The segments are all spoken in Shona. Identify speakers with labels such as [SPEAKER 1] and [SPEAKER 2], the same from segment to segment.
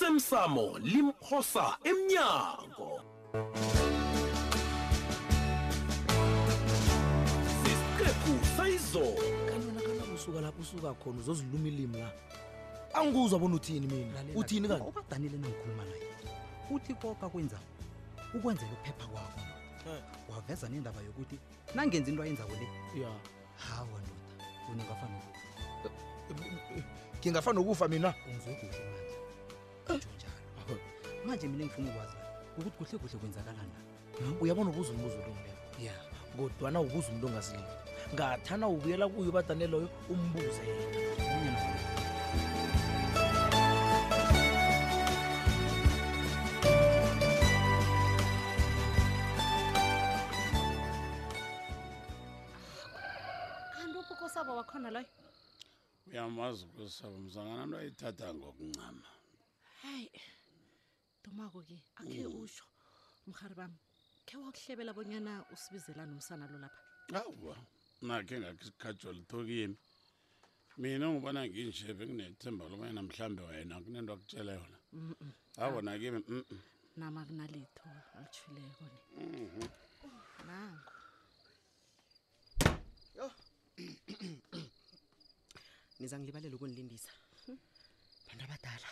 [SPEAKER 1] osemsamo limphosa emnyango sisiqephu sayizolo
[SPEAKER 2] kanti wena kanabe usuka lapho usuka khona uzoziluma ilimi la angikuzwa bona uthini mina
[SPEAKER 3] Lalela,
[SPEAKER 2] uthini kani
[SPEAKER 3] ubadanile nengikhuluma naye uthi koka kwenza ukwenzela ukuphepha kwakho waveza nendaba yokuthi nangenza into ayenzako le
[SPEAKER 2] ya
[SPEAKER 3] hawa ndoda wena ungafana nokufa
[SPEAKER 2] ngingafana nokufa mina
[SPEAKER 3] ungizwe kuhle manje utsho njalo manje mina engifuna ukwazi ukuthi kuhle kuhle kwenzakalani na
[SPEAKER 2] uyabona ubuza umbuzo olungileyo
[SPEAKER 3] ya
[SPEAKER 2] kodwana ubuza umuntu ongazilimi ngathana ubuyela kuyo ubadaneleyo umbuze yena
[SPEAKER 4] kanti ubukosabo wakhona loyo
[SPEAKER 5] uyamazi ukusaba mzangana nto ayithatha ngokuncama
[SPEAKER 4] hayi dumako ke akhe usho mhari bami khe wakuhlebela bonyana usibizela nomsana lo lapha
[SPEAKER 5] awa nakhe ngakho isikhatsho lithokimi mina ngibona nginje benginethemba lokubana mhlawumbe wena kunento akutshele yona awa nakimi mm-mm.
[SPEAKER 4] nama kunalitho alithuleko ne Mhm. nango
[SPEAKER 6] niza ngilibalela ukunilindisa bantu abadala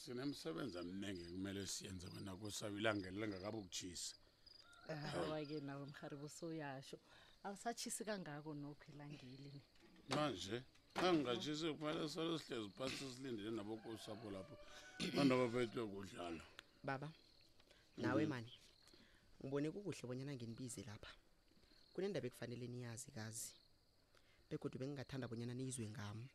[SPEAKER 5] sinemsebenzi amningi kumele siyenze wena kusaba ilangelo lengakabe ukutshisa
[SPEAKER 4] Eh. awa-ke nawe mhari busuyasho awusatshisi kangako nokho ilangeli ne
[SPEAKER 5] manje angingatshisi kumele solo sihlezi phasi silindele nabokusapho lapho bantu abaphethwe kudlala
[SPEAKER 6] baba nawe mani ngibone kukuhle bonyana nginibize lapha kunendaba ekufanele niyazi kazi begodwa bengingathanda bonyana niyizwe ngami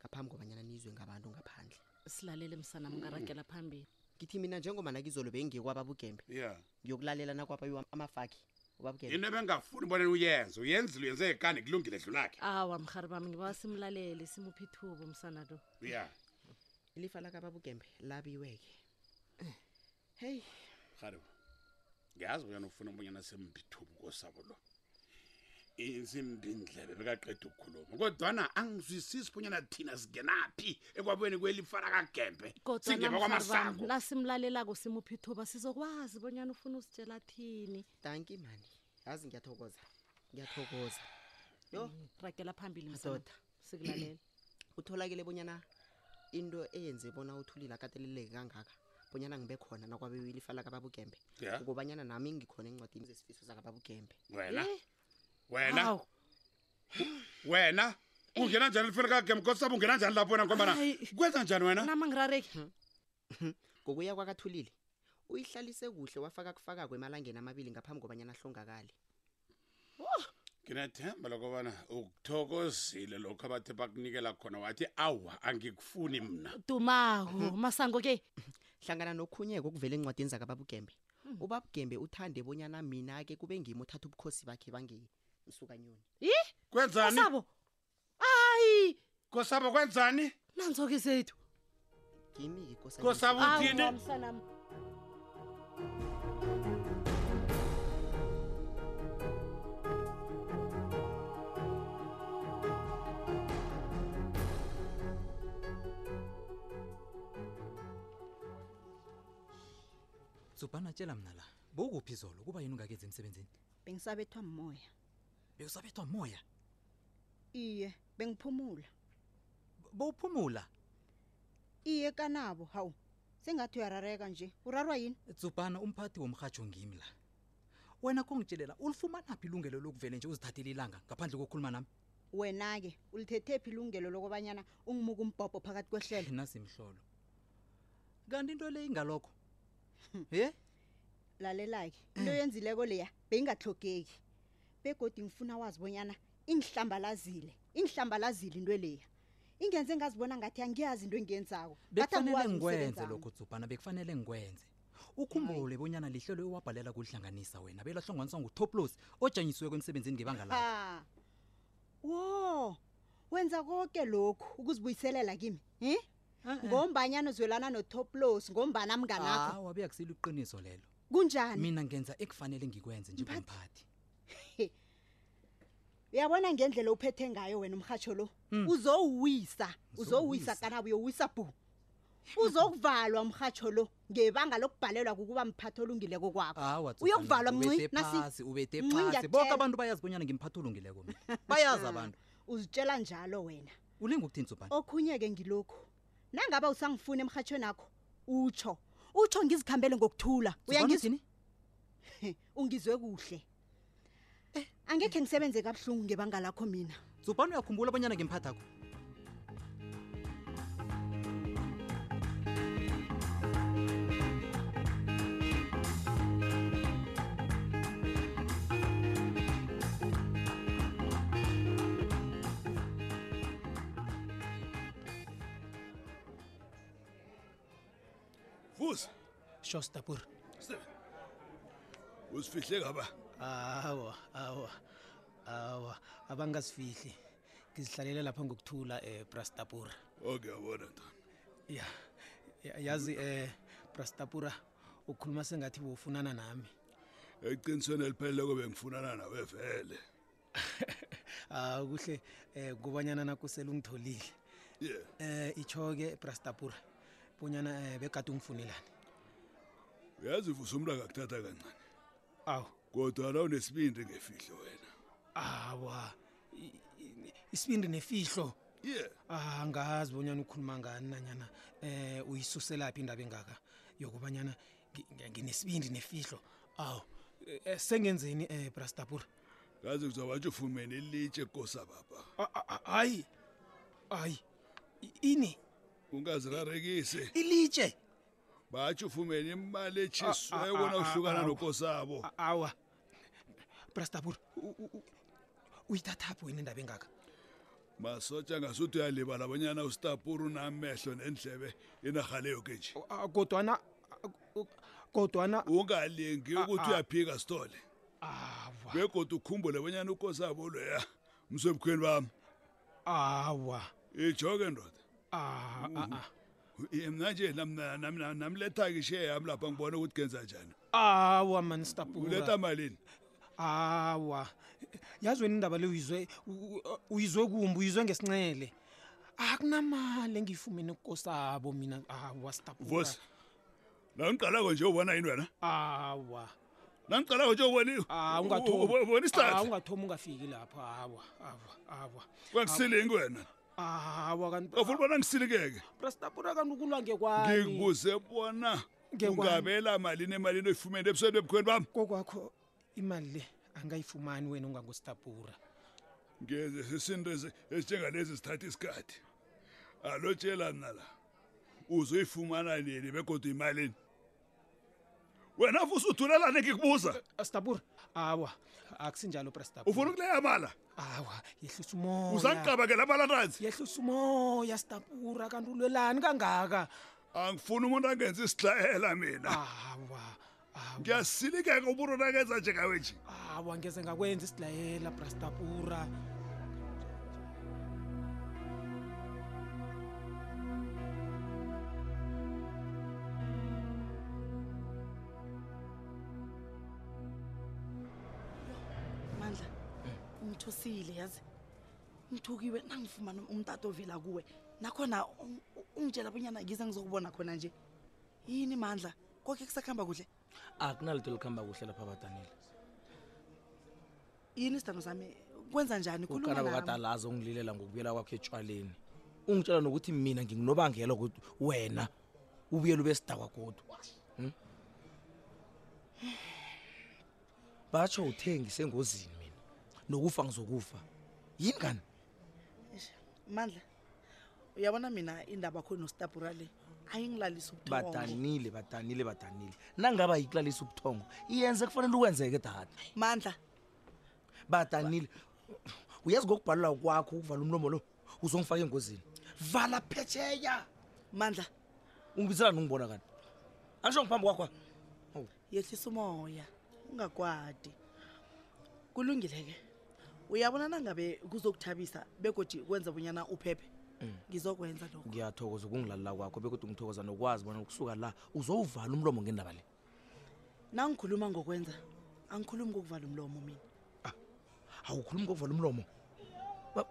[SPEAKER 6] ngaphambi kobanyana niyizwe ngabantu ngaphandle
[SPEAKER 4] silalele msana mngaragela phambili
[SPEAKER 6] ngithi mina njengoba nakizolo bengikwababukembe
[SPEAKER 5] ya yeah.
[SPEAKER 6] ngiyokulalela nakwabayo amafaki ubabukembe
[SPEAKER 5] into ebengafuni bona uyenze uyenzile uyenze kani kulungile dlulakhe
[SPEAKER 4] awa mhari bami ngiba simlalele simuphi ithubo msana lo
[SPEAKER 5] ya
[SPEAKER 6] ilifa lakababugembe labiweke heyi
[SPEAKER 5] rharibo ngiyazi bonyana ufuna ubonyana sempithubu kosabo lo isimbindlebe bekaqeda ukukhuluma kodwana angizwisisi bonyana thina singenaphi ekwabeni kwelifana kagembe
[SPEAKER 4] kodwa
[SPEAKER 5] singeba kwamasango
[SPEAKER 4] nasimlalelako simuphi ithuba sizokwazi bonyana ufuna usitshela thini
[SPEAKER 6] tanki mani yazi ngiyathokoza ngiyathokoza yo
[SPEAKER 4] ragela phambili
[SPEAKER 6] Madoda.
[SPEAKER 4] msana sikulalela
[SPEAKER 6] utholakele bonyana into eyenze bona uthulile akateleleke kangaka bonyana ngibe khona nakwabe ilifa lakababugembe
[SPEAKER 5] Ya.
[SPEAKER 6] ukobanyana nami ngikhona encwadini zesifiso sakababugembe
[SPEAKER 5] wena
[SPEAKER 4] Eh,
[SPEAKER 5] wena
[SPEAKER 4] awu,
[SPEAKER 5] wena ungena njani elifana kagembe kosabo ungena njani lapho wena ngombana
[SPEAKER 4] Hayi.
[SPEAKER 5] kwenza njani wena
[SPEAKER 4] nama ngirareki
[SPEAKER 6] ngokuya kwakathulile uyihlalise kuhle wafaka kufakako emalangeni amabili ngaphambi kobanyana ahlongakale
[SPEAKER 5] nginethemba lokobana ukuthokozile lokho abathe bakunikela khona wathi awa angikufuni mna
[SPEAKER 4] dumako masango ke
[SPEAKER 6] hlangana nokhunyeko okuvela encwadini zakababugembe ubabugembe uthande bonyana mina-ke kube ngimi othatha ubukhosi bakhe bangemsukanyoni
[SPEAKER 4] yi
[SPEAKER 5] kwenzani
[SPEAKER 4] osabo hayi
[SPEAKER 5] kosabo kwenzani
[SPEAKER 4] nanzo ke zethu
[SPEAKER 6] ngimi yikosi
[SPEAKER 5] kosabo uthini
[SPEAKER 4] Awa, msanami
[SPEAKER 3] zubhana tshela mna la bowukuphi zolo kuba yini ungakenzi emsebenzini
[SPEAKER 7] bengisabethwa mmoya
[SPEAKER 3] bewusabethwa moya
[SPEAKER 7] iye bengiphumula
[SPEAKER 3] bowuphumula
[SPEAKER 7] iye kanabo hawu sengathi uyarareka nje urarwa yini
[SPEAKER 3] zubhana umphathi womrhatsho ngimi la wena kongitshelela ulifumanaphi ilungelo lokuvele nje uzithathele ilanga ngaphandle kokukhuluma nami
[SPEAKER 7] wena-ke ulithethephi ilungelo lokobanyana ungimuka umbhobho phakathi kwehlelo
[SPEAKER 3] nasimhlolo kanti into le ingalokho ye
[SPEAKER 7] lalela-ke
[SPEAKER 3] Mm.
[SPEAKER 7] into yenzileko leya beyingahlogeki begodi ngifuna wazi bonyana ingihlambalazile ingihlambalazile into leya ingenze ngazibona ngathi angiyazi into engiyenzako ngathi
[SPEAKER 3] bekufanele ngikwenze
[SPEAKER 7] angiwazi umsebenzi
[SPEAKER 3] lokho
[SPEAKER 7] wami.
[SPEAKER 3] tsubhana bekufanele ngikwenze ukhumbule bonyana lihlelo ewabhalela kulihlanganisa wena belahlonganiswa ngutoplos ojanyisiweko emsebenzini ngebanga lakho
[SPEAKER 7] ha wo wenza konke lokhu ukuzibuyiselela kimi um ngombanyana uzwelana notoplos ngombana mnganakho
[SPEAKER 3] awa beyakusile iqiniso lelo
[SPEAKER 7] kunjani
[SPEAKER 3] mina ngenza ekufanele ngikwenze njengomphathi
[SPEAKER 7] uyabona ngendlela uphethe ngayo wena umrhatsho lo uzowuwisa uzowuwisa
[SPEAKER 3] Uzowuwisa.
[SPEAKER 7] kanabo uyowisa bhu uzokuvalwa mrhatsho lo ngebanga lokubhalelwa kukuba mphathi olungileko kwakho
[SPEAKER 3] awa Tsotsi,
[SPEAKER 7] Uyokuvalwa,
[SPEAKER 3] Nandi,
[SPEAKER 7] Mnci,
[SPEAKER 3] ubethe
[SPEAKER 7] nasi.
[SPEAKER 3] phasi, ubethe
[SPEAKER 7] Mnci,
[SPEAKER 3] phasi boke
[SPEAKER 7] ngiyakutjela.
[SPEAKER 3] abantu bayazi bonyana ngimphatha olungileko mina bayazi abantu
[SPEAKER 7] uzitshela njalo wena
[SPEAKER 3] ulinga ukuthini tsubani
[SPEAKER 7] okhunye-ke ngilokhu nangaba usangifuni emrhatshweni akho utsho utsho ngizikhambele ngokuthula uyangizwa
[SPEAKER 3] uyangizini
[SPEAKER 7] ungizwe kuhle angekhe ngisebenze kabuhlungu ngebanga lakho mina
[SPEAKER 3] tsubani uyakhumbula bonyana ngimphathakho
[SPEAKER 8] vuza
[SPEAKER 1] shostapur
[SPEAKER 8] usifihle ngaba
[SPEAKER 1] awa awa awa abangazifihli ngizihlalela lapha ngokuthula um brastapura
[SPEAKER 8] oke yabona ntana
[SPEAKER 1] ya ya- yazi um brastapura ukhuluma sengathi bewufunana nami
[SPEAKER 8] eqinisweni elipheleleko bengifunana nawe vele
[SPEAKER 1] ah kuhle um kubanyana nakusele ungitholile
[SPEAKER 8] ye
[SPEAKER 1] um itsho-ke brastapura bonyana um begade ungifunelani
[SPEAKER 8] uyazi vusa umntu akakuthatha kancane
[SPEAKER 1] awu
[SPEAKER 8] kodwana unesibindi ngefihlo wena
[SPEAKER 1] awa i- i- isibindi nefihlo
[SPEAKER 8] ye
[SPEAKER 1] Ah, angazi bonyana ukhuluma ngani nanyana eh uyisuselaphi indaba engaka yokubanyana ngi- ngi- nginesibindi nefihlo awu eh, eh, sengenzeni eh brastapura
[SPEAKER 8] kazi kuzawatsho ufumene ilitshe kosababa
[SPEAKER 1] hayi hayi i- ini
[SPEAKER 8] ungazirarekisi
[SPEAKER 1] ilitshe
[SPEAKER 8] batsho ufumene imali Eh,
[SPEAKER 1] Ah, ah,
[SPEAKER 8] etshisweko
[SPEAKER 1] ah,
[SPEAKER 8] nawuhlukana
[SPEAKER 1] ah,
[SPEAKER 8] nokosabo
[SPEAKER 1] A- awa brastapura u- u- u- uyithathaphi wena indaba engaka
[SPEAKER 8] masotsha ngasuthi uyalibala abanyana usitapuru namehlo nendlebe inarha leyo ke nje
[SPEAKER 1] Ah, ah, kodwana ah, u- kodwana
[SPEAKER 8] ungalingi ukuthi
[SPEAKER 1] ah.
[SPEAKER 8] uyaphika sithole
[SPEAKER 1] awa
[SPEAKER 8] begoda ukhumbule bonyana ukosabo loya msebukhweni bami
[SPEAKER 1] awa
[SPEAKER 8] ijoke ndoda
[SPEAKER 1] ah, ah, ah.
[SPEAKER 8] mna nje nam- na- nam- na- namlethaki ishe yami lapha ngibone ukuthi kenza njani
[SPEAKER 1] ah. awa mani stapura
[SPEAKER 8] uletha malini
[SPEAKER 1] hawa yazi wena indaba le uyizwe u- u- uyizwe kumbi uyizwe ngesincele akunamali engiyifumene kukosabo mina awa
[SPEAKER 8] vosi nangiqalako nje ubona yini wena
[SPEAKER 1] awa
[SPEAKER 8] nangiqalako nje
[SPEAKER 1] Ah, ungathomi.
[SPEAKER 8] ubona
[SPEAKER 1] Ah,
[SPEAKER 8] isitata
[SPEAKER 1] ungathomi ungafiki lapho awa awa awa
[SPEAKER 8] kwangisilingi wena
[SPEAKER 1] awa
[SPEAKER 8] ufuna
[SPEAKER 1] kanti
[SPEAKER 8] ubona ngisilikeke
[SPEAKER 1] prastapura kanti ukulwa ngekwani
[SPEAKER 8] ngikubuze bona
[SPEAKER 1] Ngekwani?
[SPEAKER 8] ungabela malini emalini oyifumene ebusweni ebukhweni bami
[SPEAKER 1] kokwakho imali le angayifumani wena ungangostapura
[SPEAKER 8] ngeze sisinto esi- esinjengalezi sithatha isikhathi alotshela mna la uzoyifumana nini begodwa imalini wena futhi uthulelane ngikubuza
[SPEAKER 1] stapura Ah, awa akusinjalo prastapura
[SPEAKER 8] ufuna ukuleya mala
[SPEAKER 1] awa yehlisa umoya
[SPEAKER 8] uzangiqabakela abalatanzi
[SPEAKER 1] yehlisa umoya stapura kanti ulwelani kangaka
[SPEAKER 8] angifuni umuntu angenza isidlayela mina
[SPEAKER 1] awa awa
[SPEAKER 8] ngiyasilikeka ubuntu nakenza njengawe nje
[SPEAKER 1] awa ngeze ngakwenza isilayela brastapura
[SPEAKER 9] mandla ngithusile yazi ngithukiwe nangifumana umtato ovela kuwe nakhona ung- u- ungitshela bonyana ngize ngizokubona khona nje yini mandla koke kusakuhamba kuhle
[SPEAKER 1] akunalito likuhamba kuhle lapha abadanile
[SPEAKER 9] yini isidano sami kwenza njani Khuluma
[SPEAKER 1] ukanabo
[SPEAKER 9] nami.
[SPEAKER 1] katalaza ungililela ngokubuyela kwakho etshwaleni ungitshela nokuthi mina ngingunobangela ukuthi wena ubuyela ube sidakwa kodwa Hmm? batsho uthe ngisengozini mina nokufa ngizokufa yini kani
[SPEAKER 9] Eish, mandla uyabona mina indaba khona nostabura le ayingilalisi ubuthongo.
[SPEAKER 1] badanile badanile badanile nangaba yikulalisa ubuthongo iyenze kufanele ukwenzeke dada
[SPEAKER 9] mandla
[SPEAKER 1] badanile uyazi ngokubhalela kwakho ukuvala umlomo lo uzongifaka engozini vala phetsheya
[SPEAKER 9] mandla
[SPEAKER 1] ungibizela nongibona kani angisho ngiphambi kwakho
[SPEAKER 9] yehlisa umoya ungakwadi kulungile-ke uyabona nangabe kuzokuthabisa begodi kwenza bunyana uphephe ngizokwenza lokho
[SPEAKER 1] ngiyathokoza ukungilalela kwakho bekuthi ngithokoza nokwazi bona ukusuka la uzowuvala umlomo ngendaba le
[SPEAKER 9] nangikhuluma ngokwenza angikhulumi ngokuvala umlomo mina
[SPEAKER 1] awukhulumi ngokuvala umlomo Ba-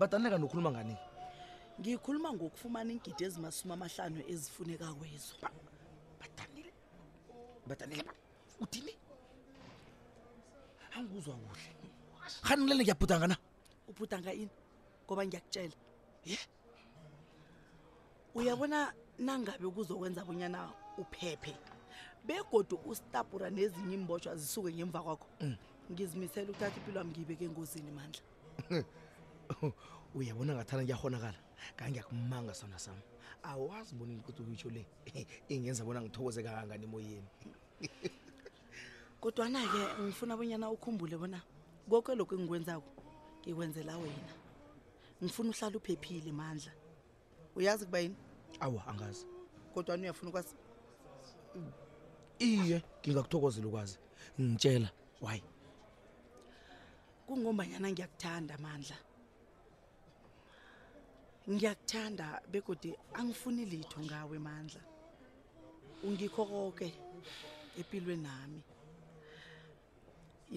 [SPEAKER 1] badanile kani ukhuluma ngani
[SPEAKER 9] ngikhuluma ngokufumana iingidi ezimasumi amahlanu ezifuneka kwezo
[SPEAKER 2] badanile badanile ba uthini angikuzwa kuhle hanilele ngiyabhudanga na
[SPEAKER 9] ubhudanga ini ngoba ngiyakutshela ye uyabona nangabe kuzokwenza bonyana uphephe begodu ustabura nezinye imbotshwa zisuke ngemva kwakho ngizimisele ukuthatha impilo wami ngiyibeke engozini mandla
[SPEAKER 2] uyabona ngathana ngiyahonakala kangiyakumanga sona sam awazi bona inkutukitsho le ingenza bona ngithokoze kangangani emoyeni
[SPEAKER 9] kodwana-ke ngifuna bonyana ukhumbule bona konke lokhu engikwenzako ngikwenzela wena ngifuna uhlala uphephile mandla uyazi kuba yini
[SPEAKER 2] awa angazi
[SPEAKER 9] kodwana uyafuna ukwazi
[SPEAKER 2] iye ngingakuthokozela ukwazi ngitshela wayi
[SPEAKER 9] kungombanyana ngiyakuthanda mandla ngiyakuthanda begodi angifuni litho ngawe mandla ungikho konke empilweni nami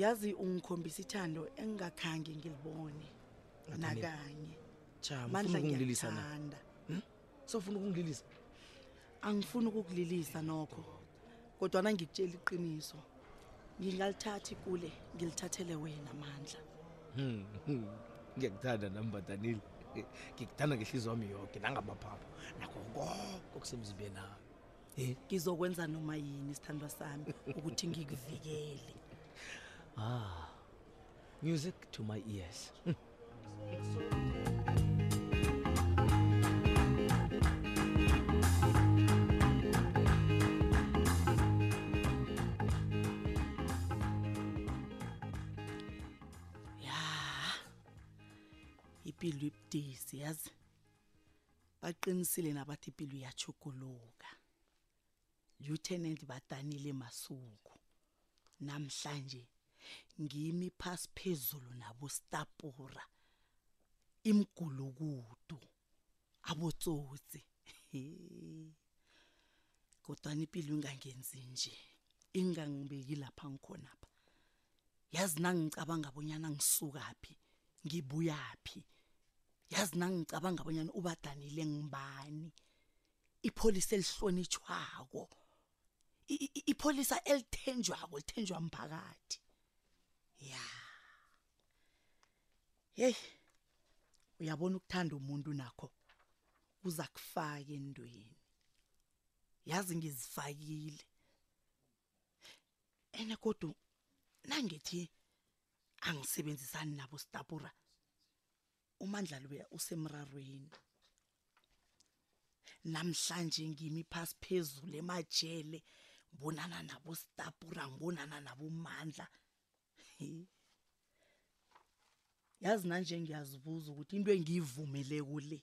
[SPEAKER 9] yazi ungikhombisa ithando engingakhange ngilibone nakanye
[SPEAKER 2] cha
[SPEAKER 9] mandla
[SPEAKER 2] ufuna ukungililisa na
[SPEAKER 9] ngiyakuthanda
[SPEAKER 2] sofuna ukungililisa
[SPEAKER 9] angifuni ukukulilisa nokho kodwana ngikutshela iqiniso ngingalithathi kule ngilithathele wena mandla
[SPEAKER 2] ngiyakuthanda nambadanile ngikuthanda ngehliziyo wami yonke nangamaphapho nakho konke okusemzimbeni ami e
[SPEAKER 9] ngizokwenza noma yini isithandwa sami ukuthi ngikuvikele
[SPEAKER 2] ah music to my ears
[SPEAKER 9] ya impilo ibudisi yazi baqinisile nabathi impilo iyachuguluka lieutenant badanile masuku namhlanje ngimi phasi phezulu nabostapura imgulukudu abotsotsi kodwana impilo ingangenzi nje ingangibeki lapha ngikhonapha yazi nangicabanga abonyana ngisukaphi ngibuyaphi yazi nangicabanga abonyana ubadanile ngibani ipholisa elihlonitshwako I- i- ipholisa elithenjwako lithenjwa mphakathi ya heyi uyabona ukuthanda umuntu nakho uza kufaka endweni yazi ngizifakile ene kodwa nangithi angisebenzisani nabo stapura umandla luya usemrarweni namhlanje ngimi phasi phezulu emajele ngibonana nabo stapura ngibonana nabo mandla He. yazi nanje ngiyazibuza ukuthi into engiyivumele kule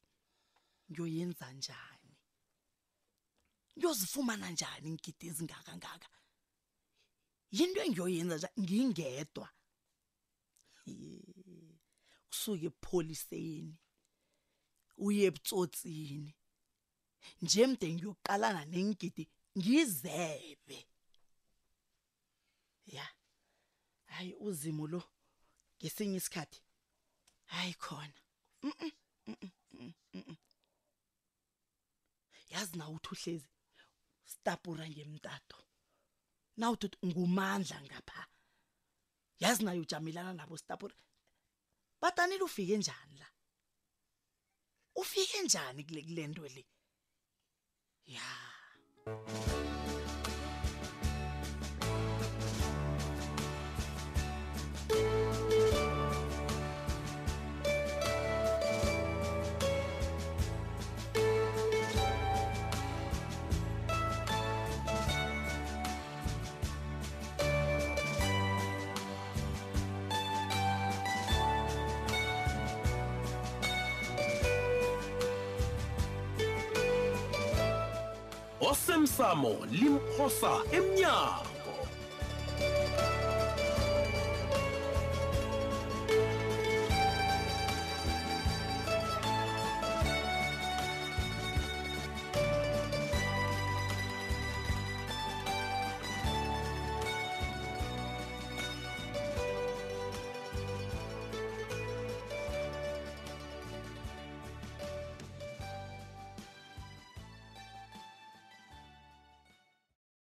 [SPEAKER 9] ngiyoyenza njani ngiyozifumana njani ngigidi ezingakangaka yinto engiyoyenza nja ngingedwa Yee. kusuke epholiseni uye ebutsotsini nje mde ngiyoqalana nengidi ngizebe ya hayi uzimo lo ngesinye isikhathi hayi khona Mm-mm, mm-mm, mm-mm, mm-mm. yazi nawe uthi uhlezi stapura ngemtato nawuthi uthi ngumandla ngapha yazi nayo ujamelana nabo stapura batanile ufike njani la ufike njani kule kule nto le ya
[SPEAKER 1] osemsamo limphosa emnyango